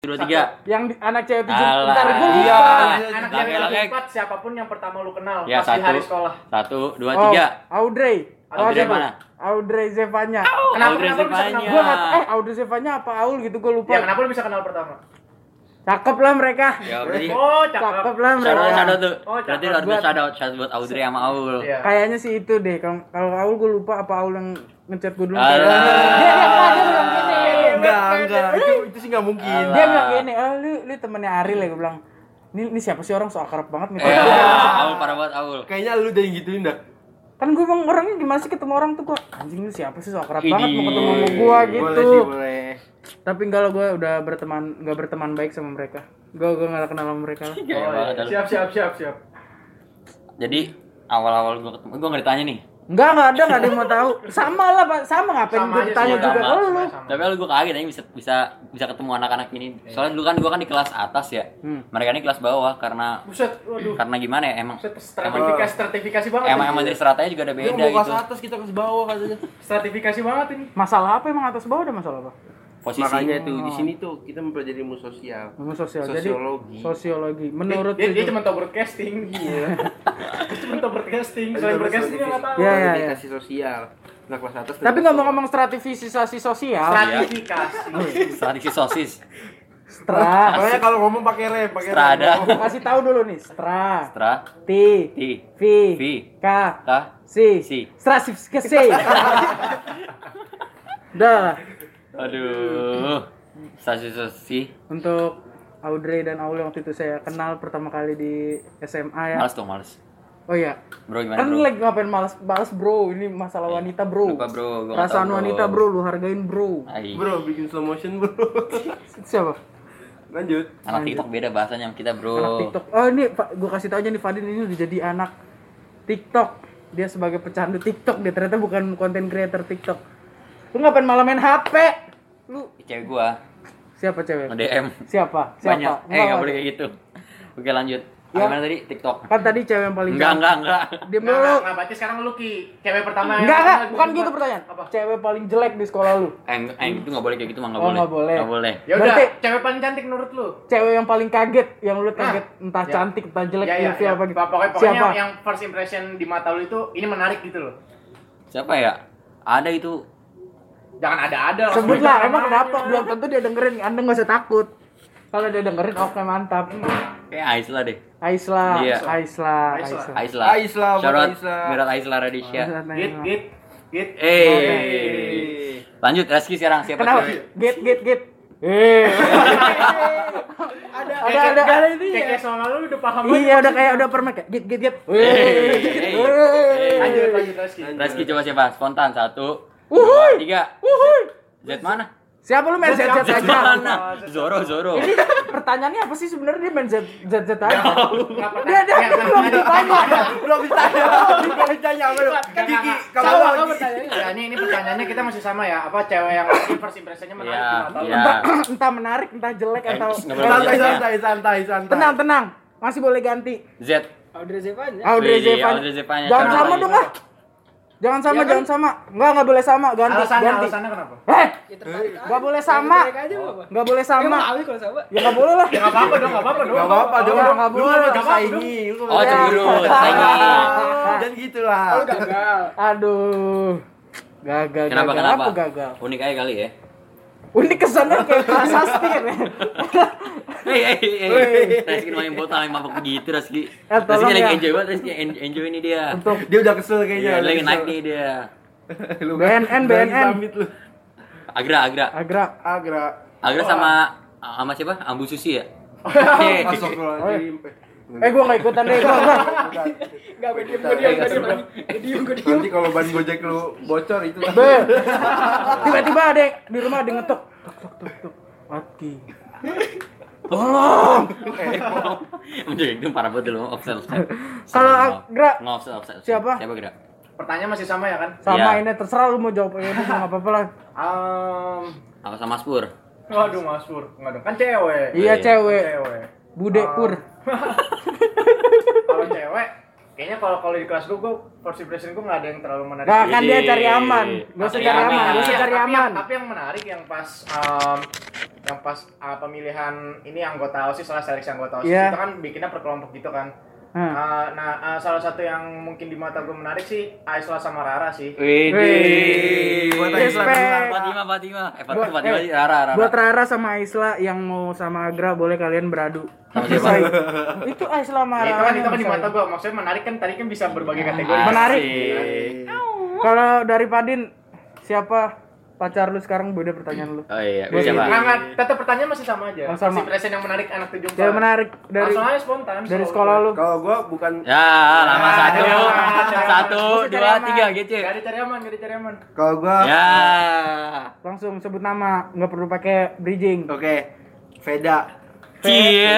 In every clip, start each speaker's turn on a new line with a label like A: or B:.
A: dua tiga
B: Yang di- anak cewek tujuh.
A: Alah.
B: Bentar gue
A: Iya.
B: lupa.
C: Anak
A: Laki-laki.
C: cewek yang empat siapapun yang pertama lu kenal
A: Ya,
C: pas
A: satu.
C: di hari sekolah.
A: satu dua
B: Oh,
A: tiga
B: Audrey. Oh,
A: Audrey
B: siapa?
A: mana?
B: Audrey Zevanya.
C: Kenapa
A: Audrey
C: kenapa lu bisa
A: Zevanya.
C: kenal?
B: Gue nggak eh Audrey Zevanya apa Aul gitu gue lupa.
C: Ya kenapa lu bisa kenal pertama?
B: Cakep lah mereka.
A: ya berarti
C: Oh,
B: Cakep
C: cakep.
B: lah
A: shout
B: mereka.
A: out shout out tuh
C: Oh,
A: berarti
C: cakep
A: harus
B: buat-
A: shout out shout out buat Audrey sama Aul
C: Iya.
B: Kayaknya sih itu deh. Kalau kalau Aul gue lupa apa Aul yang ngechat gue dulu.
A: Alah.
B: Dia
C: iya,
B: dia bilang- dia bilang gini.
D: Enggak,
B: iya,
D: enggak. Itu itu sih enggak mungkin.
B: Dia bilang gini, "Oh, lu lu temennya Ariel ya?" Gue bilang, "Ini ini siapa sih orang so akrab banget nih."
A: Ya, Aul parah buat Aul
D: Kayaknya lu udah gituin dah.
B: Kan gue bang orangnya gimana sih ketemu orang tuh gue anjing lu siapa sih so akrab
A: Ini.
B: banget mau ketemu sama gue
D: Boleh
B: gitu.
D: sih, boleh.
B: Tapi enggak lah gue udah berteman nggak berteman baik sama mereka. Gue gue nggak kenal sama mereka. lah.
A: Gaya
C: Oh,
A: banget,
C: iya.
A: Aul.
C: Siap siap siap siap.
A: jadi awal-awal gue ketemu gue nggak ditanya nih
B: Enggak, enggak ada, enggak ada yang mau tahu. Sama lah, Pak. Sama ngapain
C: Sama
B: gue
C: aja
B: ditanya
C: sih,
B: juga
A: sama,
B: ke lu.
C: sama. Iya.
A: tapi Aul gue kaget aja bisa bisa bisa ketemu anak-anak ini soalnya dulu kan gue kan di kelas atas ya
B: Hmm.
A: mereka ini kelas bawah karena
C: Buset, waduh.
A: karena gimana ya emang
C: Buset, stratifikasi stratifikasi banget.
A: emang
C: ini.
A: emang dari seratanya juga ada
D: Dia
A: beda
D: mau
A: gitu
D: ke atas kita ke bawah katanya.
C: stratifikasi banget ini.
B: Masalah apa emang atas bawah ada masalah apa?
A: posisi
D: Makanya itu di sini tuh kita mempelajari ilmu sosial.
B: Ilmu sosial. Jadi
D: Sosiologi.
B: sosiologi. Menurut
C: dia, dia, dia
B: itu-
C: cuma tau broadcasting. Iya. dia cuma tau
D: Iya,
C: broadcasting. Selain broadcasting dia nggak tahu.
B: Iya, iya, iya.
D: Kasih sosial. Nah, kelas atas.
B: Tapi ngomong-ngomong stratifikasi sosial,
C: Stratifikasi.
A: strategi
C: Iya,
A: sosis
B: stra.
D: Makanya kalau ngomong pakai rem, pakai
A: Strada.
C: iya.
D: rem.
B: Kasih tahu dulu nih, stra.
A: stra
B: T,
A: ti
B: V,
A: V,
B: K,
A: ta
B: C,
A: Si.
B: stratifikasi. Dah.
A: aduh strategi sosis
B: Untuk Audrey dan Aul yang waktu itu saya kenal pertama kali di SMA ya.
A: males tuh males
B: Oh iya,
A: bro gimana
B: kan
A: bro
B: lagi ngapain malas balas bro ini masalah wanita bro
A: Lupa, bro. Gua nggak
B: perasaan
A: tahu, bro.
B: wanita bro lu hargain bro
A: Ai,
D: Bro, bikin slow motion, Bro.
B: siapa
D: Lanjut.
A: anak TikTok beda bahasanya sama kita bro
B: anak tiktok oh ini Fa- gua kasih tau aja nih Fadin ini udah jadi anak tiktok dia sebagai pecandu tiktok dia ternyata bukan konten creator tiktok lu ngapain malah main hp lu
A: cewek gua
B: siapa cewek
A: nge-DM
B: siapa siapa
A: banyak eh nggak
B: Enggak,
A: boleh kayak gitu oke lanjut
B: Ya.
A: gimana tadi TikTok
B: kan tadi cewek yang paling
A: enggak enggak enggak
B: dia
C: Nah,
B: mulu
C: nah, nah, berarti sekarang lu Ki, cewek pertama yang
B: enggak enggak
C: kenal gua
B: bukan
C: juga.
B: gitu pertanyaan
C: Apa?
B: cewek paling jelek di sekolah lu
A: eh, enggak, eh, itu nggak boleh kayak gitu mah nggak
B: Oh,
A: boleh
B: nggak boleh.
A: nggak boleh
C: Ya udah,
B: Berarti-
C: cewek paling cantik menurut lu?
B: cewek yang paling kaget yang lu kaget entah
C: ya.
B: cantik entah jelek
C: ya, ya,
B: ilfil
C: ya.
B: apa gitu
C: Pokoknya, pokoknya
B: siapa
C: yang, yang first impression di mata lu itu ini menarik gitu loh.
A: siapa ya ada itu
C: Jangan ada-ada langsung
B: sebut lah
C: aja
B: emang
C: namanya.
B: kenapa belum tentu dia dengerin anda nggak usah takut kalau dia dengerin oke mantap
A: kayak Aisla deh
B: Aisla
A: Iya.
B: Aisla Aisla
C: Aisla.
A: Aisla
D: Aisla, buat
A: Shout out
D: Aisla.
A: Mirat Aisla Radisha
C: Git, git, git.
A: eh
D: Iya.
A: lanjut Reski sekarang siapa
B: kenapa
A: cewek?
B: git git git Eh. ada ada ada ada ini ya?
C: Kayak kayak sama lu udah paham
B: iya udah kayak udah permen kayak git git Eh. git
A: Eh. Hey.
B: Wih.
A: Eh.
C: Lanjut, lanjut, Reski.
A: Reski coba siapa spontan satu
B: Wuhui.
A: dua tiga
B: Wuhuy.
A: Z mana
B: siapa lu main zz
A: Z
B: aja
A: mana Zoro Zoro
B: ini pertanyaannya apa sih sebenarnya dia main zz zz aja
C: Kenapa?
B: dia dia
C: Ya,
B: dia belum ditanya
D: Belum ditanya. Belum ditanya apa lu?
C: Kan
D: Kiki,
C: kamu
D: kamu
C: sama
D: lagi.
C: pertanyaannya. Ya, ini ini pertanyaannya kita masih sama ya. Apa cewek yang first impressionnya menarik
A: Iya,
C: di mata lu?
A: iya.
B: entah menarik entah jelek
A: Eh,
B: atau
A: nggak boleh
D: Santai,
A: Z, ya.
D: santai, santai, santai.
B: tenang tenang masih boleh ganti
A: Z
E: Audrey Zevanya.
B: Audrey
A: Wih,
B: Zevan
A: Iya, Audrey Zevan ya,
B: jangan
A: cara
B: sama
A: lagi.
B: dong ah jangan
D: Iya
B: sama
E: Ya kan?
B: jangan sama nggak nggak boleh sama ganti
C: Alasannya,
B: ganti
C: alasannya kenapa?
B: eh
E: Ya tertarik aja.
B: Nggak boleh sama.
E: Ya, tertarik aja nggak apa-apa.
B: nggak boleh sama
E: Emang awi kalau sama.
B: ya nggak boleh lah
C: Ya nggak apa-apa dong, nggak apa-apa dong.
D: Gak apa-apa
B: Nggak
D: dong, lu
B: boleh,
D: kan
B: nggak
D: bisa ini lu
A: oh
D: kan-
A: cemburu
D: Ah,
A: saingi
D: Dan gitulah
E: Kalau gagal.
B: aduh gagal
A: Kenapa
B: gagal
A: kenapa?
B: apa gagal
A: Unik aja kali ya.
B: unik kesannya kayak prasasti kan ya
A: Hei hei hei. Reski main botol main mabok begitu Reski.
B: Eh, tolong
A: Reski lagi
B: ya.
A: enjoy banget Reski En- enjoy ini dia.
B: untuk
D: Dia udah kesel kayaknya.
A: Iya,
D: udah
A: lagi
D: kesel.
A: naik nih dia.
D: Lu
B: BNN,
D: berani
B: BNN.
D: pamit lu.
A: Agra Agra.
B: agra
D: Agra.
A: Agra sama sama siapa? Ambu Susi ya. Hei.
D: Masuk lu
B: eh gua nggak ikutan deh gua gua.
E: Enggak gue diem, gue diem, gue diem. Gue diem, gue diem.
D: Iya, Nanti kalau ban gojek lu bocor itu.
B: Be. tiba-tiba ada yang- di rumah ada yang ngetok tok tok tok tok Mati. tolong
A: Menjaga itu gitu, parah banget lu offset offset.
B: Kalau Agra-
A: nggak offset offset.
B: Siapa?
A: Siapa Agra?
C: Pertanyaan masih sama ya kan?
B: sama
A: Iya.
B: ini terserah lu mau jawab apa juga nggak apa-apa lah
C: Um,
A: Apa sama Spur?
C: waduh Mas Pur, enggak dong. Kan cewek. Kan
B: iya
A: Iya.
B: cewek
C: Cewek.
B: bude
C: Oh,
B: pur
C: Kalau cewek, kayaknya kalau kalau di kelas gue, gue first impression gue nggak ada yang terlalu menarik.
B: Nah, kan dia
A: Iya.
B: cari aman. Gak usah
A: Cari
B: cari
A: aman.
B: aman, gak usah
C: Iya,
B: cari
C: tapi yang-
B: aman.
C: Tapi yang menarik yang pas um, yang pas uh, pemilihan ini anggota OSIS salah seleksi anggota OSIS
B: Iya. Hmm.
C: itu kan bikinnya per kelompok gitu kan.
B: Hah.
C: Uh, nah, uh, salah satu yang mungkin di mata gue menarik sih Aisla sama Rara sih.
A: Iya.
B: Wih,
D: buat
B: respect.
A: Fatima, Fatima. Eh, Fatima,
B: Buat-
A: Fatima,
B: eh,
A: sih, Rara, Rara.
B: Buat Rara sama Aisla yang mau sama Agra boleh kalian beradu.
A: Sama siapa?
B: Selesai. Itu Aisla sama
C: Ya, itu
B: Rara.
C: kan itu kan di
B: yang
C: mata
B: selesai.
C: gue maksudnya menarik kan tadi kan bisa berbagai kategori.
A: Asik.
B: Iya. Menarik. Kalau dari Padin siapa pacar lu sekarang beda pertanyaan lu.
A: Oh iya,
B: Buat
A: siapa?
C: Nah, nggak, tetap pertanyaan masih sama aja.
B: Oh, sama.
C: Si presiden yang menarik anak tujuh
B: Cewek Iya, menarik dari
C: Langsung aja spontan.
B: dari sekolah lu.
D: Kalau gua bukan
A: Ya, lama satu,
B: Nah,
C: cari aman, cari aman.
A: satu,
B: Mesti cari
A: dua,
B: aman.
A: tiga gitu.
C: Gak dicari aman, gak dicari aman.
D: kalau gua
A: Ya.
B: Langsung sebut nama, nggak perlu pakai bridging.
D: oke Veda.
A: Cie.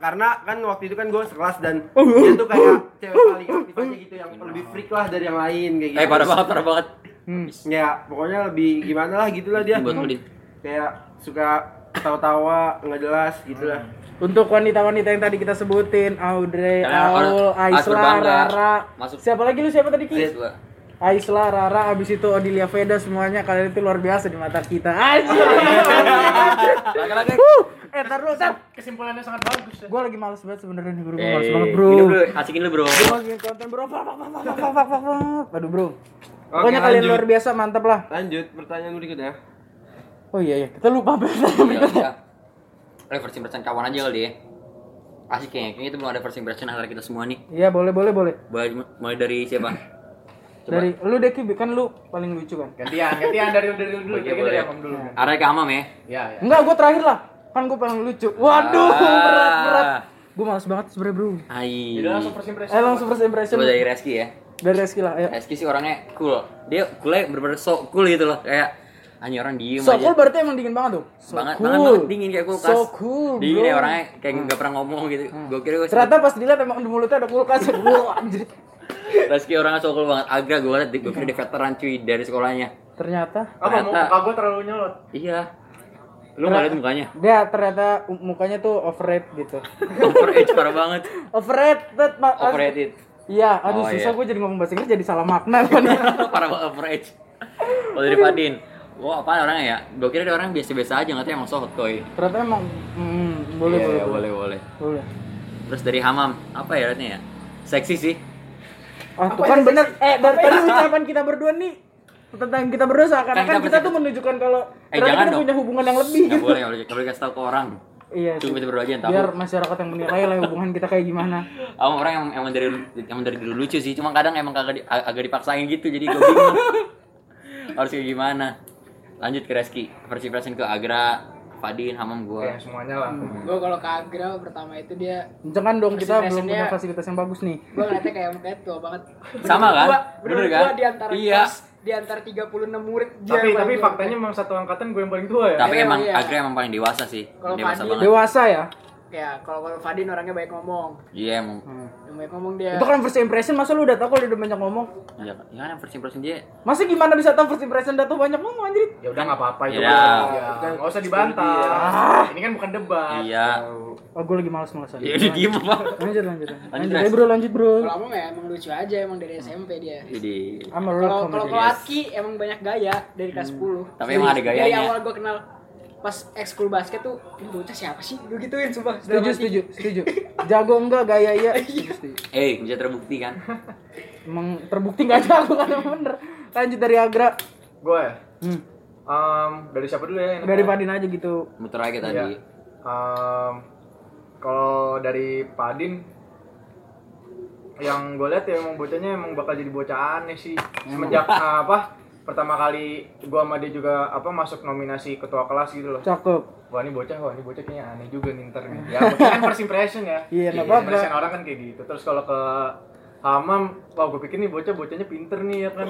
D: Karena kan waktu itu kan gua sekelas dan
B: Oh,
D: dia tuh kayak cewek paling aktif aja gitu yang lebih freak lah dari yang lain kayak gitu.
A: Eh, parah banget, parah banget.
B: Hmm.
D: Ya, pokoknya lebih gimana lah gitu lah dia.
A: Buat Udin.
D: Kayak suka tawa-tawa nggak jelas gitu lah.
A: Hmm.
B: Untuk wanita-wanita yang tadi kita sebutin, Audrey,
A: Kalian
B: Aul,
A: harus- harus
B: Aisla,
A: berbangga.
B: Rara.
A: Masuk.
B: Siapa lagi lu siapa tadi Ki?
A: Dua.
B: Aisla, Rara, abis itu Odilia Veda semuanya kalian itu luar biasa di mata kita. Anjir.
A: Laki-laki.
B: Huh. eh, tar lu, tar.
C: Kesimpulannya sangat bagus ya.
B: Gue lagi males banget sebenarnya nih, bro. Gua Males
A: Eh,
B: banget, bro.
A: minum dulu, asikin dulu, bro.
B: Gue mau bikin konten, bro. Pak, pak, pak, pak, pak, pak, pak, pak. Aduh, bro.
D: Oke,
B: Pokoknya kalian
D: lanjut.
B: luar biasa, mantap lah.
D: Lanjut pertanyaan berikutnya.
B: Oh iya, iya. Kita lupa
A: Iya,
B: berita.
A: iya. Eh, first impression kawan aja kali ya. Asik kayaknya, kayaknya itu belum ada first impression antara kita semua nih.
B: Iya, boleh, boleh, boleh.
A: Mulai, mulai dari siapa? Coba.
B: Dari lu deh, Ki, kan lu paling lucu kan?
C: Gantian, gantian dari dari
A: Boleh,
C: dulu, dari
A: boleh.
C: Amam dulu.
A: Arah ke Amam ya.
C: Ya, ya.
B: Enggak, gue terakhir lah. Kan gue paling lucu. Waduh,
A: Ah.
B: berat, berat. Gue males banget sebenernya, bro.
A: Hai.
C: Jadi langsung first impression.
B: Eh, langsung first impression
A: Coba dari Reski ya.
B: dari Reski lah, ayo.
A: Reski sih orangnya cool. Dia coolnya bener-bener sok cool gitu loh. Kayak hanya orang diem
B: So
A: aja.
B: cool berarti emang dingin banget tuh. So
A: banget,
B: cool.
A: banget, banget dingin kayak kulkas.
B: So cool, bro. Hmm.
A: Dingin ya orangnya kayak nggak pernah ngomong gitu. Gue kira gue
B: Ternyata pas dilihat emang di mulutnya ada kulkas. Wow, anjir.
A: Reski orangnya sok cool banget. Agra gue liat, gue kira dia
B: Hmm.
A: veteran cuy dari sekolahnya.
B: Ternyata
C: Apa mau
A: Ternyata-
C: muka gue terlalu nyolot?
A: Iya. Lu nggak liat mukanya?
B: dia ternyata mukanya tuh overrated gitu.
A: Overage parah banget.
B: Overrated, Pak.
A: Overrated.
B: Iya, aduh
A: Oh,
B: susah
A: iya.
B: gue jadi ngomong bahasa Inggris jadi salah makna kan.
A: parah banget overage. Kalau dari Fadin, wah apa orangnya ya? Gue kira dia orang biasa-biasa aja, nggak tahu emang soft coy.
B: ternyata emang hmm, boleh,
A: Iya,
B: boleh,
A: iya, boleh,
B: boleh,
A: boleh.
B: boleh.
A: Terus dari Hamam, apa ya liatnya ya? Seksi sih.
B: Ah, tuh kan bener. Eh, dari tadi ucapan kita berdua nih tentang kita berdua seakan-akan
A: Kan kita
B: kita tuh menunjukkan kalau
A: Eh,
B: ternyata
A: jangan
B: kita
A: dong.
B: punya hubungan yang lebih
A: Nggak
B: gitu.
A: boleh, nggak boleh, nggak boleh kasih tahu ke orang.
B: Iya.
A: Cuma
B: sih.
A: kita berdua aja yang tahu.
B: Biar masyarakat yang menilai lah ya hubungan kita kayak gimana.
A: Aku orang yang emang dari emang dari dulu lucu sih, cuma kadang emang kagak di- ag- agak dipaksain gitu, jadi gue bingung harus kayak gimana. Lanjut ke Reski, versi versi ke Agra, Fadin, Hamam
C: Ya,
A: gua.
C: semuanya lah.
E: Gue kalau ke Agra pertama itu dia
B: Jangan dong
E: Terus
B: kita belum
E: impressionnya-
B: punya fasilitas yang bagus nih.
E: gue ngeliatnya kayak mukanya tua banget.
A: Sama kan?
E: Gua- Bener,
A: Bener kan?
E: Gue di antara
A: Iya.
E: kelas, di antara 36 murid dia
C: Tapi
E: yang
C: tapi
E: paling tua.
C: faktanya memang satu angkatan gue yang paling tua ya.
A: Tapi
E: Iya,
A: emang
E: iya.
A: Agra emang paling dewasa sih,
E: Kalau
A: dewasa
E: Fadin-
A: banget.
B: Dewasa ya.
E: ya kalau kalau Fadin orangnya baik ngomong.
A: Iya emang.
E: Yang baik ngomong dia.
B: Itu kan first impression, masa lu udah tau kalau dia udah banyak ngomong?
A: Iya kan? Iya kan versi versi dia.
B: Masa gimana bisa tau first impression udah tau banyak ngomong anjir?
C: Ya udah nggak apa-apa itu.
A: Iya.
C: Ya. Nggak usah dibantah. Ini kan bukan debat.
A: Iya.
B: Oh, gue lagi males-malesan.
A: Iya udah diem apa?
B: Lanjut, lanjut. Lanjut,
A: Lanjut,
B: lanjut
A: Res.
B: eh, bro, lanjut bro.
E: Kalau ngomong ya emang lucu aja emang dari SMP dia.
A: Jadi.
B: I'm a rock
E: Kalau kalau
B: comedy.
E: kalau Atki emang banyak gaya dari kelas 10.
A: Tapi emang ada
E: Dari
A: gayanya.
E: awal gue kenal pas ekskul basket tuh, "Ini bocah siapa sih? Gue gituin sumpah. dalam
B: Setuju,
E: hati.
B: setuju, setuju. Jago enggak gaya iya. Setuju, setuju.
A: Eh bisa terbukti kan?
B: Emang terbukti nggak jago kan emang bener. Lanjut dari Agra.
C: Gue
B: Hmm.
C: ya. em, dari siapa dulu ya? enaknya?
B: Dari Padin aja gitu.
A: Muter aja tadi.
C: Iya. Em, kalau dari Padin yang gue lihat ya emang bocahnya emang bakal jadi bocah aneh sih semenjak ah, apa pertama kali gue sama dia juga apa masuk nominasi ketua kelas gitu loh
B: Cakep.
C: wah ini bocah wah ini bocah kayaknya aneh juga nih ntar nih ya mungkin kan first impression ya
B: Iya, nggak
C: First
B: apa-apa.
C: impression orang kan kayak gitu terus kalau ke Hamam, wah gue pikir nih bocah bocahnya pinter nih ya kan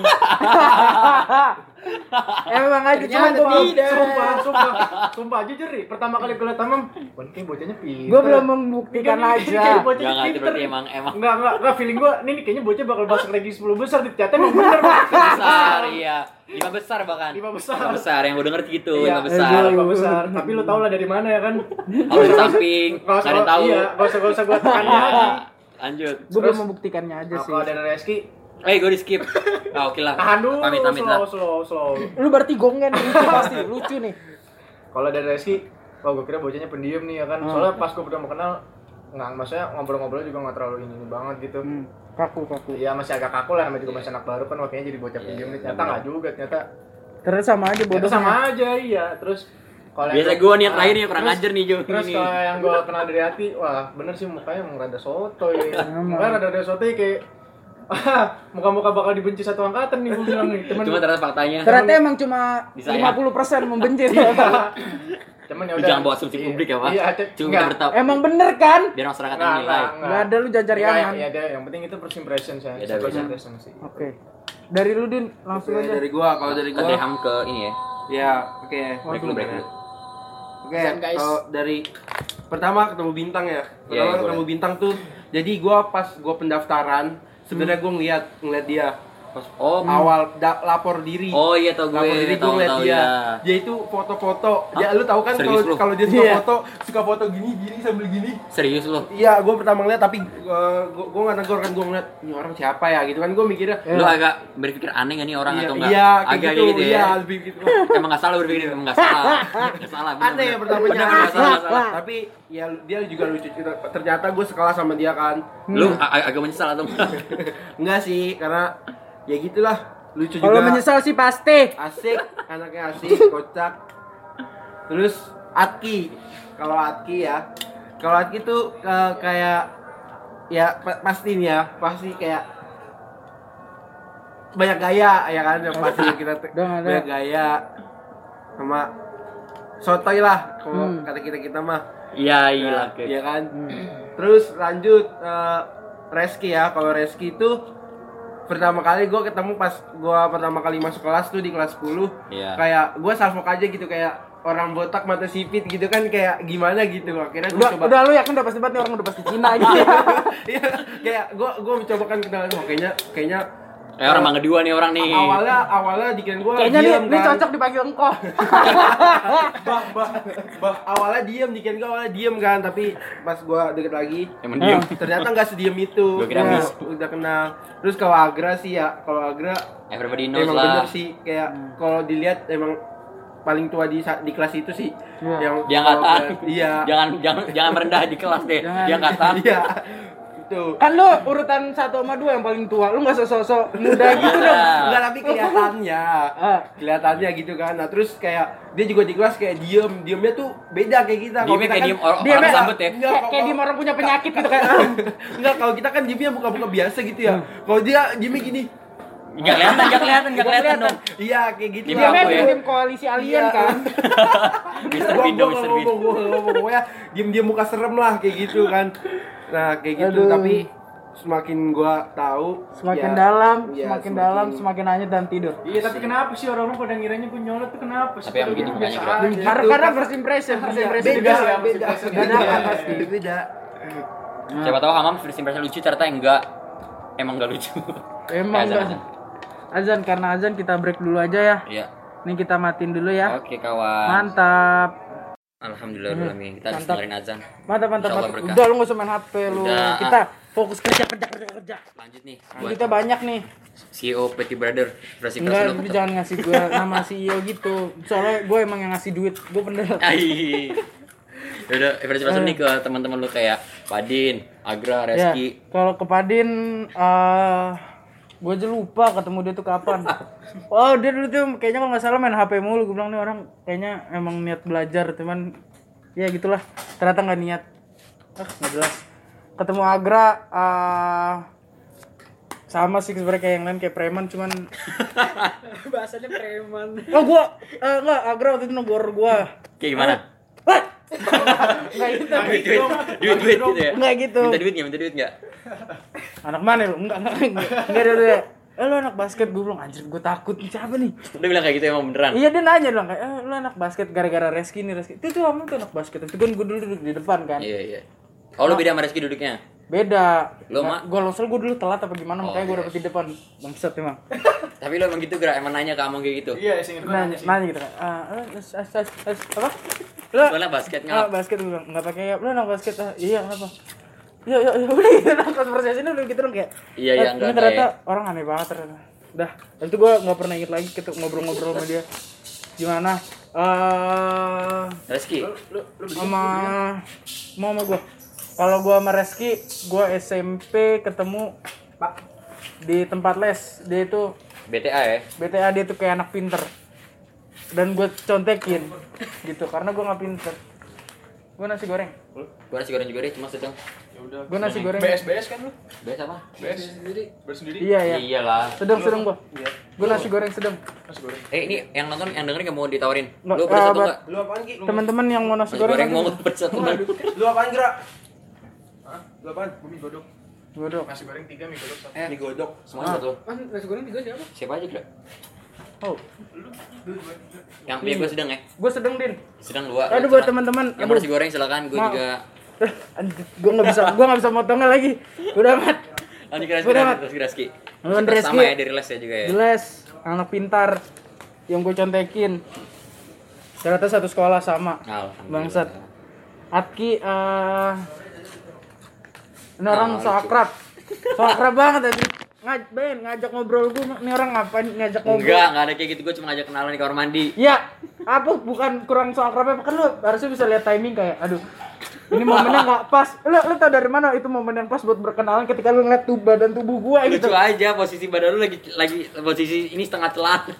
B: Eh, Emang aja
E: Ternyata
B: cuma gue
E: tidak.
C: sumpah sumpah sumpah jujur nih pertama kali gue liat Hamam, wah ini kayaknya bocahnya pinter
B: gue belum membuktikan aja.
C: Bocah
A: Jangan itu
C: pinter.
A: berarti emang emang
C: Enggak, enggak, enggak, feeling gue, ini nih kayaknya bocah bakal masuk lagi 10 besar, di ternyata emang bener Bang.
A: besar iya lima besar bahkan
C: Lima besar.
A: lima besar yang gue denger gitu
C: Iya,
A: lima besar
C: Lima besar, tapi lu tau lah dari mana ya kan
A: kalau di samping nggak ada yang tahu Iya,
C: Iya, gak usah, gak usah gue tekan lagi
A: lanjut
B: Gue belum
C: Terus-
B: membuktikannya aja sih.
C: Kalau dari Reski,
A: eh gue di skip Ah, oke lah
C: tahan dulu,
A: pamit pamit
C: slow,
A: lah
C: slow, slow
B: Kan Lu berarti gongen lucu pasti lucu nih.
C: Kalau dari Reski, wah gue kira bocahnya pendiam nih ya kan.
A: Hmm.
C: Soalnya pas gue pertama kenal, nggak, maksudnya ngobrol-ngobrol juga nggak terlalu ini, banget gitu.
A: Hmm.
B: Hmm, kaku kaku
C: Iya masih agak kaku lah, namanya juga masih anak baru kan waktunya jadi
A: Iya,
C: bocah pendiam nih. Ternyata nggak juga, ternyata
B: ternyata sama aja bodoh
C: ternyata sama aja iya. Terus kalau
A: Biasa
C: yang-
A: gue nih yang
C: Ah,
A: terakhir nih kurang
C: terus-
A: ajar nih Jo.
C: Terus
A: Ini.
C: kalau yang gue kenal dari hati, wah bener sih mukanya emang rada soto ya. Mukanya rada rada soto ya, kayak ah, muka-muka bakal dibenci satu angkatan nih gue bilang nih. Cuman,
A: Cuma ternyata faktanya.
B: ternyata emang cuma
A: Disayang.
B: 50% membenci ternyata.
C: cuman ya
A: Lu
C: udah.
A: jangan bawa asumsi
C: Iya.
A: publik ya, Pak.
C: Iya, cek-
A: Cuma
C: nggak.
A: kita bertau.
B: emang bener kan
A: Biar masyarakat yang
C: Nggak,
A: nilai.
C: nggak,
B: nggak ada lu jangan cari
C: Nggak,
B: aman
C: Iya, ada. Yang penting itu first impression saya.
A: Iya,
C: First
A: iya.
C: impression sih.
B: oke dari lu din
D: Oke,
B: langsung aja
D: Eh, dari gua kalau dari
A: Dari
D: gua
A: Ham ke ini ya.
D: ya oke
A: Break dulu, break dulu.
D: Oke,
E: Pesan, guys.
D: kalau dari pertama ketemu bintang ya. Pertama
A: Iya, iya,
D: ketemu bintang tuh. Jadi gua pas gua pendaftaran, sebenarnya gua ngeliat ngeliat dia pas
A: Oh,
D: awal da- lapor diri.
A: oh iya tau gue.
D: lapor diri gua
A: Tahu
D: ngeliat
A: tahu
D: dia.
A: ya.
D: Dia itu foto-foto. Ya lu tahu kan
A: Serius
D: kalau
A: lu?
D: kalau dia suka
B: Iya.
D: foto, suka foto gini gini sambil gini.
A: Serius lo.
D: Iya, gua pertama ngeliat tapi uh, gua gua nggak negor kan gua ngeliat ini orang siapa ya gitu kan gua mikirnya
A: Lu agak berpikir aneh gak nih orang
D: iya,
A: atau enggak?
D: Iya, kayak
A: agak
D: gitu,
A: gitu
D: iya,
A: ya.
D: lebih gitu.
A: Emang gak salah berpikir, emang gak salah. Gak salah. bener,
D: Aneh ya
A: bener.
D: pertamanya.
A: Bener, bener, gak salah, gak salah.
D: Tapi ya dia juga lucu. Ternyata gue sekelas sama dia kan.
A: Lu a- a- agak menyesal atau enggak?
D: Enggak sih, karena ya gitulah lucu juga.
B: kalau menyesal sih pasti
D: Asik, anaknya asik, kocak. Terus Atki, kalau Atki ya, kalau Atki tuh eh, kayak ya pa- pasti nih ya, pasti kayak banyak gaya ya kan yang pasti kita te-
B: Udah nggak ada.
D: banyak gaya sama sotoy lah kalau
B: Hmm.
D: kata kita kita mah
A: Iya, iya.
D: Nah, iya kan
B: gitu.
D: terus lanjut eh, Reski ya kalau Reski itu pertama kali gue ketemu pas gue pertama kali masuk kelas tuh di kelas 10
A: Iya.
D: kayak gue salfok aja gitu kayak orang botak mata sipit gitu kan kayak gimana gitu akhirnya gue
B: udah
D: coba
B: udah lu yakin udah pasti banget nih orang udah pasti Cina gitu
D: Iya, kayak gue gue mencoba kan kenalan oh, kayaknya kayaknya
A: Eh orang Mangga dua nih orang nih.
D: awalnya awalnya dikirain gue
B: kayaknya nih,
D: kan.
B: nih cocok dipanggil engkau
D: bah bah bah awalnya diem dikirain gue awalnya diem kan tapi pas gue deket lagi
A: Emang diem.
D: ternyata nggak sediem itu
A: Gua kira
D: Nah,
A: miss.
D: udah kenal terus kalau Agra sih ya kalau Agra
A: Eh, Everybody knows
D: emang
A: lah.
D: bener sih kayak
B: Hmm.
D: kalau dilihat emang paling tua di sa- di kelas itu sih
B: Iya.
D: yang
A: Dia angkatan.
D: kalau- iya
A: Jangan jangan jangan merendah di kelas deh.
B: Jangan.
A: Dia angkatan.
D: iya itu
B: kan lu urutan satu sama dua yang paling tua lu nggak sosok muda gitu
A: Iya.
B: dong
D: enggak tapi kelihatannya
B: Ah.
D: kelihatannya gitu kan nah terus kayak dia juga di kelas kayak diem diemnya tuh beda kayak kita Kalau
A: Diemnya
D: kita
A: kayak
D: kan-
A: diem orang-
B: Diemnya-
A: orang sambut ya.
D: Enggak,
B: kayak
D: kalau-
B: kayak di orang punya penyakit gitu kan
D: Enggak, kalau kita kan diemnya buka-buka biasa gitu
B: Hmm.
D: ya. Kalau dia diemnya gini.
A: Enggak kelihatan, enggak kelihatan, enggak kelihatan dong.
D: Iya, kayak gitu.
A: Diemnya
B: dia
A: Aku ya.
B: tim koalisi alien
D: Iya.
B: kan
A: Mr. Bindo, Mr. Bindo.
D: Pokoknya diem-diem muka serem lah kayak gitu kan. Nah, kayak gitu
B: Aduh.
D: tapi semakin gua tahu
B: semakin
D: ya,
B: dalam
A: Iya,
D: ya,
B: semakin dalam semakin hanyut dan tidur
F: Iya, tapi kenapa sih orang-orang pada ngiranya gue nyolot tuh kenapa sih?
A: Tapi yang ya. begitu
F: Padahal
A: mukanya
F: biasa
A: gerak.
F: aja.
B: karena karena first impression first
D: Iya,
B: impression
D: beda,
B: juga
F: ya,
D: beda,
F: masing-masing
D: beda,
B: beda.
D: kan pasti beda.
A: Siapa tahu Hamam first impression lucu ternyata enggak. Emang enggak lucu.
B: emang
A: Azan,
B: enggak
A: azan.
B: azan karena azan kita break dulu aja ya
A: Iya.
B: ini kita matiin dulu ya
A: Oke, kawan.
B: mantap
A: Alhamdulillah udah lami. Kita harus
B: Mantap.
A: dengerin azan.
B: mantap mantap,
A: Insyaallah
B: mantap.
A: berkah.
B: udah lu nggak usah main hp lu
A: Udah, ah.
B: kita fokus kerja kerja kerja kerja Nah,
A: Lanjut nih
B: kita
A: buat
B: banyak nih
A: CEO Petit Brother. Versi
B: enggak
A: versi
B: lu
A: lo.
B: jangan ngasih gue nama CEO gitu soalnya gue emang yang ngasih duit gue pendek
A: Ai. Ya Yaudah, versi versi nih ke teman-teman lu kayak Padin, Agra, Reski.
B: Ya, kalau ke Padin gue aja lupa ketemu dia tuh kapan. oh, dia dulu tuh kayaknya kalau nggak salah main HP mulu. Gue bilang nih orang kayaknya emang niat belajar, cuman ya gitulah. Ternyata nggak niat. Ah, nggak jelas. Ketemu Agra eh, sama sih sebenarnya kayak yang lain kayak preman cuman
E: Bahasanya preman.
B: oh gua eh, nggak Agra waktu itu negor gua
A: Kayak gimana?
B: Wah! nggak gitu
A: Duit, duit, duit, duit gitu ya.
B: nggak gitu
A: Minta duit nggak? Minta duit nggak?
B: anak mana lu? Enggak, enggak, enggak. Enggak, dia, dia. Eh lu anak basket gue bilang anjir gue takut nih siapa nih?
A: Dia bilang kayak gitu emang beneran.
B: Iya dia nanya dia bilang kayak eh, lu anak basket gara-gara Reski nih Reski. Itu tuh kamu tuh anak basket. Itu kan gue dulu duduk di depan kan.
A: Iya iya. Oh lu beda sama Reski duduknya?
B: Beda.
A: Lu, Mak?
B: Gue losel gue dulu telat apa gimana
A: Oh,
B: makanya gue
A: iya.
B: dapet di depan. Bangsat emang.
A: Tapi lu emang gitu gerak, emang nanya ke Among kayak gitu.
F: Iya, singkat gue
B: Nanya,
F: nanya sih.
B: nanya gitu kan. Ah, lu as- as- as- as- eh, apa? Lu
A: Soalnya basket
B: ah,
A: ngelap.
B: basket gue bilang enggak pakai ya. Lu anak basket. Ah, iya kenapa? Iya, iya, iya. Udah gitu nah, konversasinya udah gitu dong kayak.
A: Iya, iya,
B: eh,
A: enggak,
B: ini ternyata
A: enggak,
B: orang aneh banget ternyata. Udah, habis itu gue nggak pernah inget lagi ketemu ngobrol-ngobrol sama dia. Gimana? Eh eh
A: Reski.
B: sama mau sama gua. Kalau gua sama Reski, gua SMP ketemu Pak di tempat les. Dia itu
A: BTA ya.
B: BTA dia tuh kayak anak pinter dan gue contekin gitu karena gue nggak pinter gue nasi goreng
A: Gua nasi goreng juga deh, cuma sedang.
B: gue nasi goreng
F: BS BS kan lu?
A: Biasa apa?
F: BS sendiri. sendiri.
B: iya iya
A: Iyalah.
B: sedang sedang gue
A: Iya.
B: gue nasi goreng sedang
F: Mas goreng.
A: Eh ini yang nonton yang dengerin gak mau ditawarin.
B: Nggak,
A: Lu pedes
B: eh,
A: atau
B: buat-
A: enggak?
C: Lu apaan Ki? Lu,
B: teman-teman yang mau nasi
A: Nasi
B: goreng
A: goreng mau pedes atau enggak?
C: lu apaan Gira? Hah? Lu apaan? Gua mie godok.
B: Bodoh.
C: Nasi goreng 3 mie godok 1.
A: Eh.
C: Mie godok.
A: Semuanya satu.
B: Kan
E: Mas, nasi goreng tiga siapa?
A: Siapa aja kira?
B: oh
A: Yang punya gua sedang ya.
B: gue sedang din
A: Sedang dua.
B: aduh
A: lu
B: buat
A: sedang.
B: teman-teman
A: Yang mau
B: aduh
A: nasi goreng silakan. Gua
B: Mau.
A: juga.
B: gue Eh, nggak bisa gue nggak bisa motongnya lagi udah amat
A: Lanjut ke Reski.
B: Udah.
A: lanjut, Reski Reski.
B: Lu kan Reski.
A: Sama ya dari les ya juga ya.
B: jelas anak pintar yang gue contekin ternyata satu sekolah sama
A: Alhamdulillah.
B: Bangsat. Atki eh ini
A: Nah,
B: orang so akrab. So akrab banget tadi. Ngaj Ben, ngajak ngobrol gue, ini orang ngapain ngajak ngobrol?
A: Enggak, enggak ada kayak gitu. Gua cuma ngajak kenalan di kamar mandi.
B: Ya, apa bukan kurang so akrabnya? Kan lu harusnya bisa lihat timing kayak aduh. Ini momennya nggak pas. Lu lu tau dari mana itu momen yang pas buat berkenalan ketika lu ngeliat tuh badan tubuh gua
A: Lucu
B: gitu.
A: aja posisi badan lu lagi lagi posisi ini setengah celana.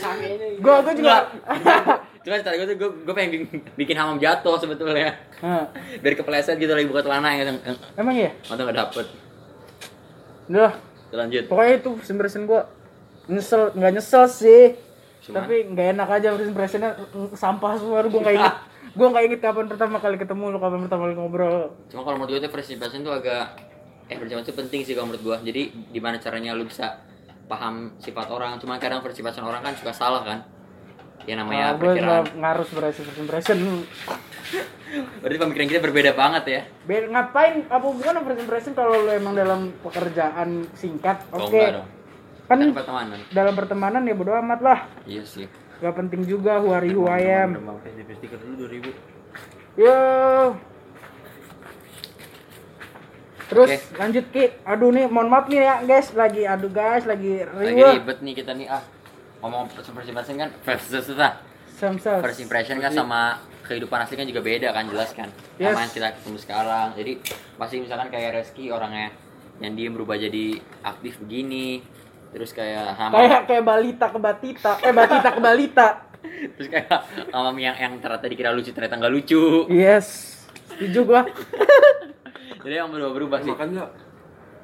E: Sangenya
A: ya.
E: gitu.
B: Gua gua juga.
A: Enggak. Cuma cara gue tuh gue, gue pengen bikin, bikin hamam jatuh sebetulnya.
B: Hah,
A: Biar kepleset gitu lagi buka celana yang atau
B: emang iya?
A: nggak dapet.
B: Udah, lah,
A: Kita Lanjut.
B: pokoknya itu first impression gua nyesel nggak nyesel sih tapi nggak enak aja first impressionnya mm, sampah semua gue nggak inget gue nggak inget kapan pertama kali ketemu lu kapan pertama kali ngobrol
A: Cuma kalau menurut gue tuh first impression tuh agak eh first impression tuh penting sih kalau menurut gue. Jadi gimana caranya lu bisa paham sifat orang. Cuma kadang first impression orang kan suka salah kan. Ya namanya
B: gue
A: perkiraan.
B: ngaruh sebenarnya first impression lu
A: Berarti pemikiran kita berbeda banget ya.
B: Be- ngapain apa hubungan sama first impression kalau lu emang dalam pekerjaan singkat
A: Kalau Oh,
B: oke
A: enggak dong.
B: kan
A: Kan pertemanan.
B: dalam pertemanan ya bodo amat lah
A: Iya sih.
B: nggak penting juga huari huayam
D: Mau kasih stiker dulu 2000.
B: yo terus
A: Oke.
B: lanjut ki aduh nih mohon maaf nih ya guys lagi aduh guys lagi
A: Lagi
B: riweh
A: ribet nih kita nih ah. Ngomong first impression kan first susah.
B: samsel
A: first impression kan sama kehidupan asli kan juga beda kan jelas kan
B: Yes.
A: sama yang kita ketemu sekarang jadi pasti misalkan kayak Reski orangnya yang diem berubah jadi aktif begini terus kayak sama
B: kayak kayak balita ke batita eh batita ke balita
A: terus kayak sama yang yang ternyata dikira lucu ternyata nggak lucu
B: yes setuju gua
A: jadi yang berubah berubah sih
D: Makan enggak?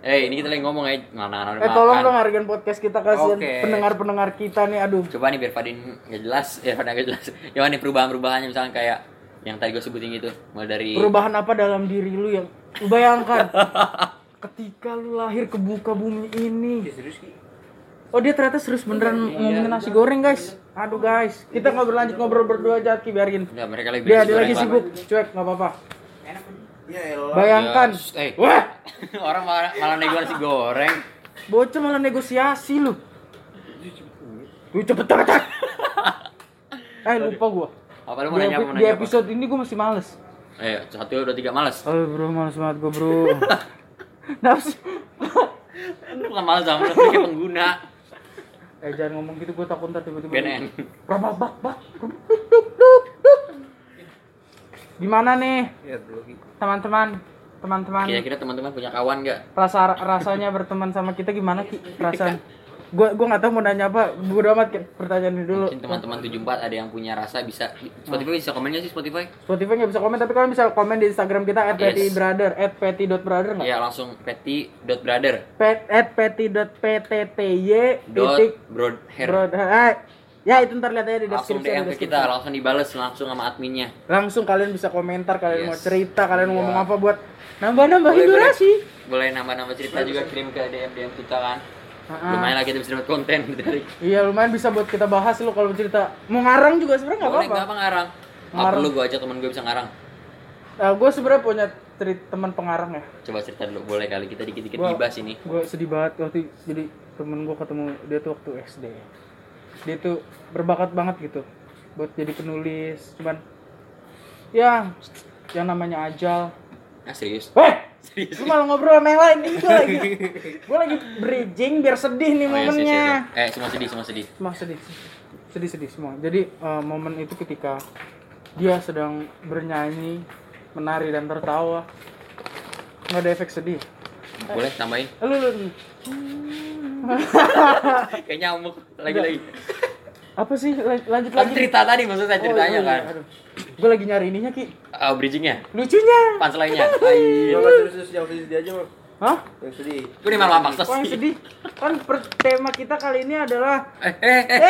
A: eh ini kita lagi ngomong ya mana
B: eh tolong dong hargain podcast kita kasihan
D: Oke.
B: pendengar pendengar kita nih aduh
A: coba nih biar Fadin nggak jelas ya Fadin nggak jelas ya nih perubahan perubahannya misalkan kayak yang tadi gue sebutin gitu mulai dari
B: perubahan apa dalam diri lu yang lu bayangkan ketika lu lahir ke buka bumi
A: Iya,
B: ini oh dia ternyata serius beneran ngomongin nasi goreng guys aduh guys
A: Iya.
B: kita nggak berlanjut ngobrol berdua aja Ki, biarin
A: Nggak, mereka lagi
B: dia
A: beres
B: dia lagi
A: goreng,
B: sibuk cuek nggak apa-apa
E: Enak.
D: Iya,
B: bayangkan
A: Ya, shh, eh.
B: wah
A: Pak. orang malah, malah nego nasi goreng
B: bocah malah negosiasi lu lu cepet cepet cepet. eh lupa gua
A: apa lu mau
B: di,
A: nanya apa mau
B: epi- di
A: nanya apa?
B: episode ini gua masih males
A: Eh, satu dua tiga malas.
B: oh bro males banget gua bro nafsu
A: Lu bukan malas sama lu lu kayak pengguna.
B: eh jangan ngomong gitu gua takut ntar tiba-tiba
A: BNN.
B: Rabak, bak bak Rabak, duk, duk, duk, duk. gimana nih
D: Iya, dulu Ki.
B: teman-teman teman-teman
A: Kira-kira teman-teman punya kawan nggak?
B: rasa rasanya berteman sama kita gimana ki perasaan gua gua nggak tahu mau nanya apa bodo amat Ki. pertanyaan ini dulu
A: Mungkin teman-teman 74 ada yang punya rasa bisa Spotify bisa komennya sih Spotify.
B: Spotify nggak bisa komen tapi kalian bisa komen di Instagram kita at
A: Yes.
B: @pettybrother @petty.brother nggak?
A: Ya langsung petty.brother.
B: Pet at petty.ptty
A: Dot
B: titik
A: broad hair.
B: brother. Ah, Ya itu ntar lihat aja di
A: Langsung
B: deskripsi.
A: DM
B: ada
A: ke kita,
B: deskripsi.
A: langsung dibales langsung sama adminnya.
B: Langsung kalian bisa komentar, kalian
A: Yes.
B: mau cerita,
A: Iya.
B: kalian ngomong apa buat nambah-nambahin
A: Boleh, boleh.
B: durasi.
A: Boleh nambah-nambah cerita juga kirim ke DM DM kita kan.
B: Ha-ha.
A: Lumayan lagi kita bisa dapat konten dari.
B: Iya lumayan bisa buat kita bahas lu kalau cerita. Mau ngarang juga sebenarnya nggak
A: Boleh
B: apa-apa.
A: nggak apa ngarang?
B: Ngarang.
A: Apa perlu gua ajak teman gue bisa ngarang?
B: Nah, gue sebenarnya punya cerita teman pengarang ya.
A: Coba cerita dulu, boleh kali kita dikit-dikit
B: Gua-
A: gibah sini.
B: gue sedih banget waktu jadi temen gue ketemu dia tuh waktu SD dia tuh berbakat banget gitu buat jadi penulis cuman ya yang namanya ajal
A: Ah serius?
B: Weh,
A: Serius?
B: lu malah ngobrol sama yang lain gue lagi gue lagi bridging biar sedih
A: Oh, iya,
B: nih
A: sih,
B: momennya
A: serius. Eh, semua sedih, semua sedih.
B: Maksudnya sedih sedih sedih semua jadi eh, momen itu ketika dia sedang bernyanyi menari dan tertawa nggak ada efek sedih
A: Boleh tambahin?
B: Eh, lu, lu-
A: Kayak nyamuk lagi-lagi.
B: apa sih Lan- lanjut
A: Kan
B: lagi
A: cerita tadi maksud saya ceritanya
D: iya,
A: kan.
B: gue lagi nyari ininya ki
A: Ah, bridgingnya,
B: lucunya
A: punchline-nya.
D: Jangan terus terus yang sedih aja Bang.
B: hah
D: yang sedih.
A: Gue nih malah maksud
B: kok yang
A: sih.
B: sedih kan per- tema kita kali ini adalah
A: Eh, eh, eh.
B: eh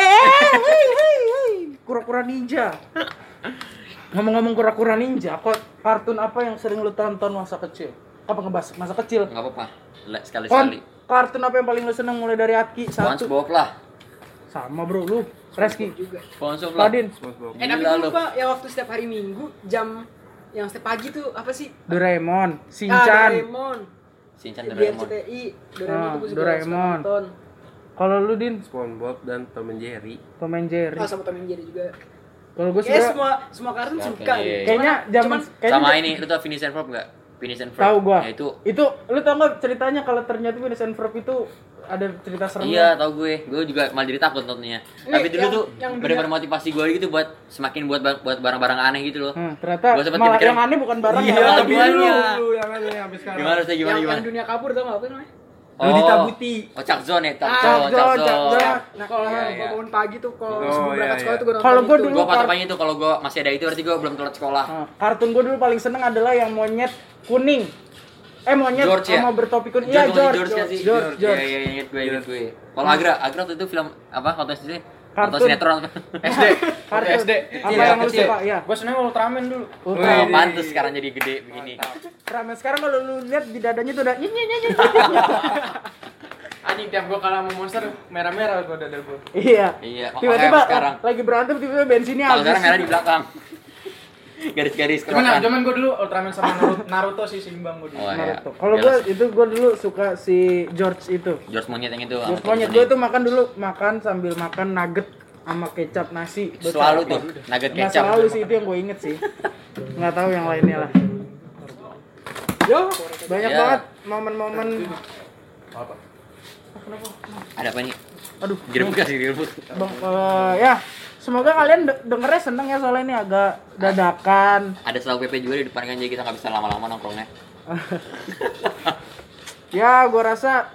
B: eh, hei hei hei kura-kura ninja ngomong-ngomong kura-kura ninja kok kartun apa yang sering lu tonton masa kecil apa ngebahas masa kecil
A: Enggak apa-apa. Le-
B: Kon,
A: Sekali-sekali.
B: kartun apa yang paling lu seneng mulai dari Aki satu
A: SpongeBob lah.
B: sama bro lu Reski
A: SpongeBob lah.
B: Ladin
D: SpongeBob.
E: Eh tapi
A: Gila
E: gue
A: lu.
E: lupa yang waktu setiap hari Minggu jam yang setiap pagi tuh apa sih?
B: Doraemon
E: Ah,
B: Shinchan
E: Doraemon.
A: Shinchan
E: Iya,
A: Doraemon.
E: DRCTI. Doraemon
B: Ah,
E: tuh gue suka
B: Doraemon.
E: suka nonton.
B: kalau lu Din
D: SpongeBob dan Tom and Jerry.
B: Tom and Jerry
E: Ah sama Tom and Jerry juga.
B: kalau gue
E: Kayak
B: suka
E: semua semua kartun
A: Oke. iya,
E: suka. deh.
B: kayaknya
E: Cuman-
B: zaman
E: cuman-
B: kayaknya
A: Sama ini, lu tau Phineas and Ferb enggak? Phineas and Ferb.
B: tahu gua
A: Ya, itu
B: itu lu tau gak ceritanya kalau ternyata Phineas and Ferb itu ada cerita
A: Iya,
B: seremnya
A: tau gue. Gue juga malah jadi takut nontonnya.
E: Ini
A: Tapi dulu
E: yang-
A: tuh
E: yang
A: benar-benar motivasi gue gitu buat semakin buat ba- buat barang-barang aneh gitu loh.
B: Hmm, ternyata
A: Gua sempet
B: malah
A: kepikiran-
B: yang aneh bukan barang ya,
A: Iya,
B: malah
A: tapi- Semuanya.
D: Lu yang ada yang habis sekarang.
A: Gimana sih gimana
E: yang,
A: gimana?
E: yang dunia kabur tau gak apa namanya?
D: Rudita Buti.
A: Oh, Cak Zone ya, Cak
E: Ah,
A: Zone,
B: Cak
A: Cak
B: Zone, Cak
A: Zone.
B: Zone.
E: Nah kalau
A: Iya, iya.
E: bangun pagi tuh kalau
D: Oh,
E: sebelum
D: iya,
E: berangkat sekolah
D: iya.
E: tuh gue nonton
B: Kalau gua
E: itu.
B: dulu-
A: Gue patokannya itu kalau gue masih ada itu berarti gue belum telat sekolah.
B: Nah, kartun gue dulu paling seneng adalah yang monyet kuning eh monyet
A: George ya?
B: sama bertopi kuning iya
A: bukan
B: George George
A: kan sih?
B: George,
A: George,
B: George.
A: Iya, iya, ingat gue, ingat gue. Kalau Agra, Agra waktu itu film apa? Waktu SD sih? Atau
B: Kartun.
A: sinetron?
C: SD.
B: kartun
C: SD.
B: apa
C: Iya,
B: yang lu
C: kecil.
B: suka ya
C: Gue seneng Ultraman dulu.
B: Ultra
A: Oh, pantes sekarang jadi gede begini.
B: Ramen sekarang kalau lu lihat di dadanya tuh udah nyet, nyet, nyet, nyet.
C: Anjing Ah, tiap gue kalah sama monster merah-merah gue dada gue.
B: iya
A: Iya, makanya
B: tiba-tiba
A: sekarang.
B: lagi berantem tiba-tiba bensinnya
A: Kalau sekarang merah
B: habis
A: di belakang. Garis-garis
C: Cuman
A: kerokan.
C: nah, cuman gue dulu Ultraman sama Naruto, Naruto sih seimbang gue dulu.
A: Oh iya.
B: Naruto. Kalau gue
A: Jelas.
B: itu gue dulu suka si George itu.
A: George Monyet yang itu.
B: George
A: sama
B: monyet
A: Tony.
B: gue tuh makan dulu makan sambil makan nugget sama kecap nasi.
A: Itu selalu tuh nugget
B: Nggak
A: kecap.
B: Nah, selalu sih itu yang gue inget sih. Nggak tahu yang lainnya lah. Yo, banyak
A: Ya.
B: banget momen-momen.
A: Ada apa nih?
B: Aduh,
A: Direbut gak sih direbut?
B: bang, eh, ya semoga kalian de- dengernya seneng ya soalnya ini agak dadakan.
A: Ada selalu PP juga di depan kan jadi kita nggak bisa lama-lama nongkrongnya.
B: Ya, gue rasa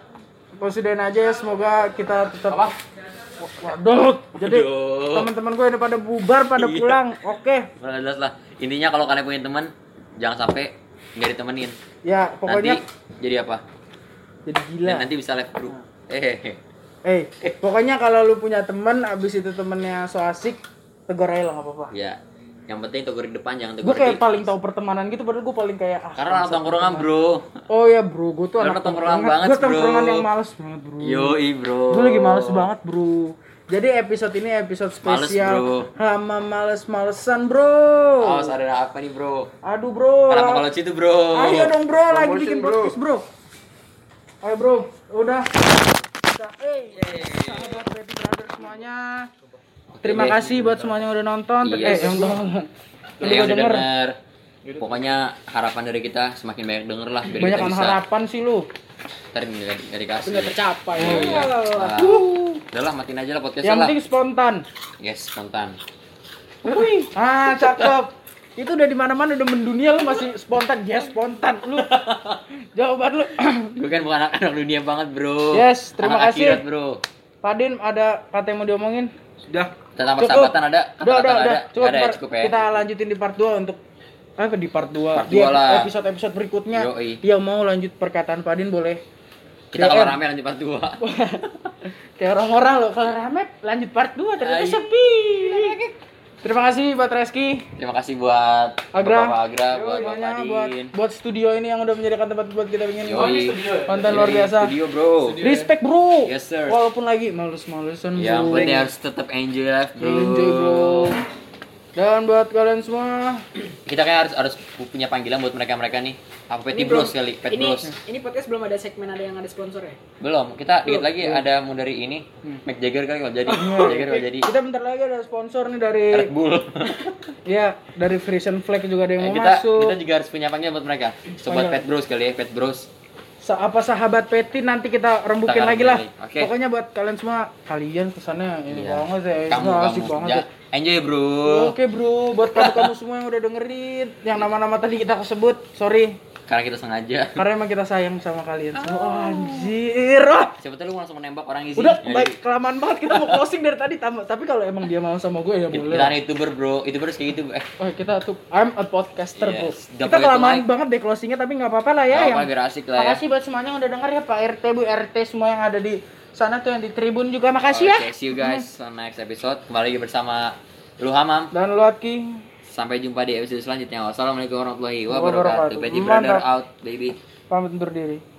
B: konsiden aja ya semoga kita tetap Wa- Waduh, jadi
A: Waduh.
B: teman-teman gue udah pada bubar, pada
A: Iya.
B: pulang. Oke,
A: Udah jelas lah. Intinya kalau kalian punya teman jangan sampai nggak ditemenin.
B: ya pokoknya
A: Nanti jadi apa?
B: jadi gila. Nah.
A: Dan nanti bisa live group. Eh,
B: Eh, pokoknya kalau lu punya temen, abis itu temennya so asik, tegur aja lah nggak apa-apa.
A: ya. Yang penting tegur di depan jangan
B: Gue
A: tegur
B: kayak
A: di.
B: paling tahu pertemanan gitu, padahal gue paling kayak ah.
A: Karena anak tongkrongan bro.
B: Oh ya bro, gue
A: Lu
B: tuh anak
A: anak tongkrongan banget,
B: Gue tongkrongan
A: bro.
B: yang males banget bro.
A: Yoi bro.
B: Gue Hmm. lagi males banget bro. Jadi episode ini episode
A: Males,
B: spesial
A: bro.
B: sama males-malesan bro.
A: Awas ada apa nih bro?
B: Aduh bro.
A: Kenapa kalau situ bro?
B: Ayo dong bro, lagi
D: Promotion,
B: bikin
D: bro.
B: podcast bro. Ayo bro, udah. Kita, eh, sahabat Baby Brother semuanya. Terima kasih buat semuanya yang udah nonton. Ter-
A: Yes.
B: Eh, yang udah-
A: Ya,
B: yang
A: yang
B: udah
A: udah
B: denger.
A: denger. Pokoknya harapan dari kita semakin banyak denger lah biar
B: Banyak
A: kita bisa
B: harapan sih lu.
A: ntar nggak nggak dikasih.
E: Nggak tercapai.
A: Oh, iya. Nah, Udah lah matiin aja lah podcastnya
B: Yang
A: lah.
B: penting spontan.
A: Yes, spontan.
B: Wih, ah cakep. Itu udah di mana-mana udah mendunia lu masih spontan. Yes, spontan lu. Jawaban lu.
A: Gue kan bukan anak, anak dunia banget, bro.
B: Yes, terima
A: anak
B: kasih.
A: Akhirat, bro.
B: Padin ada kata yang mau diomongin?
D: Sudah.
A: Tentang
B: Cukup.
A: persahabatan ada,
B: Udah,
A: kata-kata
B: udah,
A: nggak
B: udah.
A: ada.
B: Cukup,
A: Nggak ada ya,
B: Mar.
A: cukup ya.
B: Kita lanjutin di part 2 untuk apa di part 2
A: Part dua lah.
B: episode-episode berikutnya
A: Yoi.
B: yang mau lanjut perkataan Padin boleh
A: Kita kalau
B: DM.
A: rame lanjut part 2.
B: kayak orang-orang loh kalau rame lanjut part 2 ternyata
A: Ay.
B: sepi terima kasih buat Reski
A: Terima kasih buat
B: Agra.
A: Bapak Agra, Iya, buat Bang
B: semuanya buat
A: Madin.
B: buat studio ini yang udah menjadikan tempat buat kita ingin
A: Yoi.
B: konten luar
A: Yoi,
B: biasa
A: Studio, bro.
B: respect bro
A: Yes, sir.
B: walaupun lagi males-malesan
A: Yang
B: bro.
A: penting Ya harus tetap enjoy life, bro.
B: Enjoy, bro dan buat kalian semua
A: Kita kayak harus harus punya panggilan buat mereka-mereka nih. Apa Peti Bros kali, Pet
E: ini,
A: Bros.
E: ini podcast belum ada segmen ada yang ada sponsor ya?
A: Belum, kita dikit lagi ada mau dari ini.
B: Hmm.
A: Mick Jagger kali kalau jadi.
B: Iya.
A: Mick Jagger kalau jadi.
B: kita bentar lagi ada sponsor nih dari
A: Red Bull.
B: Iya, dari Frisian Flag juga ada yang
A: Nah,
B: mau
A: kita
B: masuk.
A: kita juga harus punya panggilan buat mereka. Sobat Pet Bros kali ya, Pet Bros.
B: sa- apa sahabat peti nanti kita rembukin
A: Kita
B: lagi lah.
A: rembukin. Oke.
B: Pokoknya buat kalian semua kalian kesannya ini
A: Iya.
B: banget ya,
A: Kamu
B: ini
A: kamu.
B: asik banget
A: Ja-
B: ya.
A: Enjoy bro.
B: Oke bro, buat kamu kamu semua yang udah dengerin, yang nama-nama tadi kita sebut, sorry,
A: Karena kita sengaja.
B: karena emang kita sayang sama kalian semua. anjir, ah.
A: Siapa tahu lu langsung menembak orang isi.
B: udah
A: Jadi,
B: baik kelamaan banget kita mau closing dari tadi, tam- tapi kalau emang dia mau sama gue ya
A: Kita
B: boleh.
A: kita ada youtuber bro, youtuber harus kayak gitu. Eh,
B: Oh kita tuh I'm a podcaster bro.
A: Yes, double
B: Kita kelamaan
A: like.
B: banget deh closingnya tapi nggak apa-apa lah
A: Nggak
B: ya. yang-
A: apa-apa, biar asik lah ya.
B: Makasih buat semuanya yang udah denger ya Pak RT Bu RT semua yang ada di sana tuh yang di Tribun juga makasih ya.
A: Oke, see you guys on next episode. Kembali lagi bersama Lu Hamam.
B: Dan lu Aki.
A: Sampai jumpa di episode selanjutnya. Wassalamualaikum warahmatullahi wabarakatuh.
B: Wabarakatuh.
A: Baby brother
B: Mantap.
A: out, baby.
B: pamit undur diri.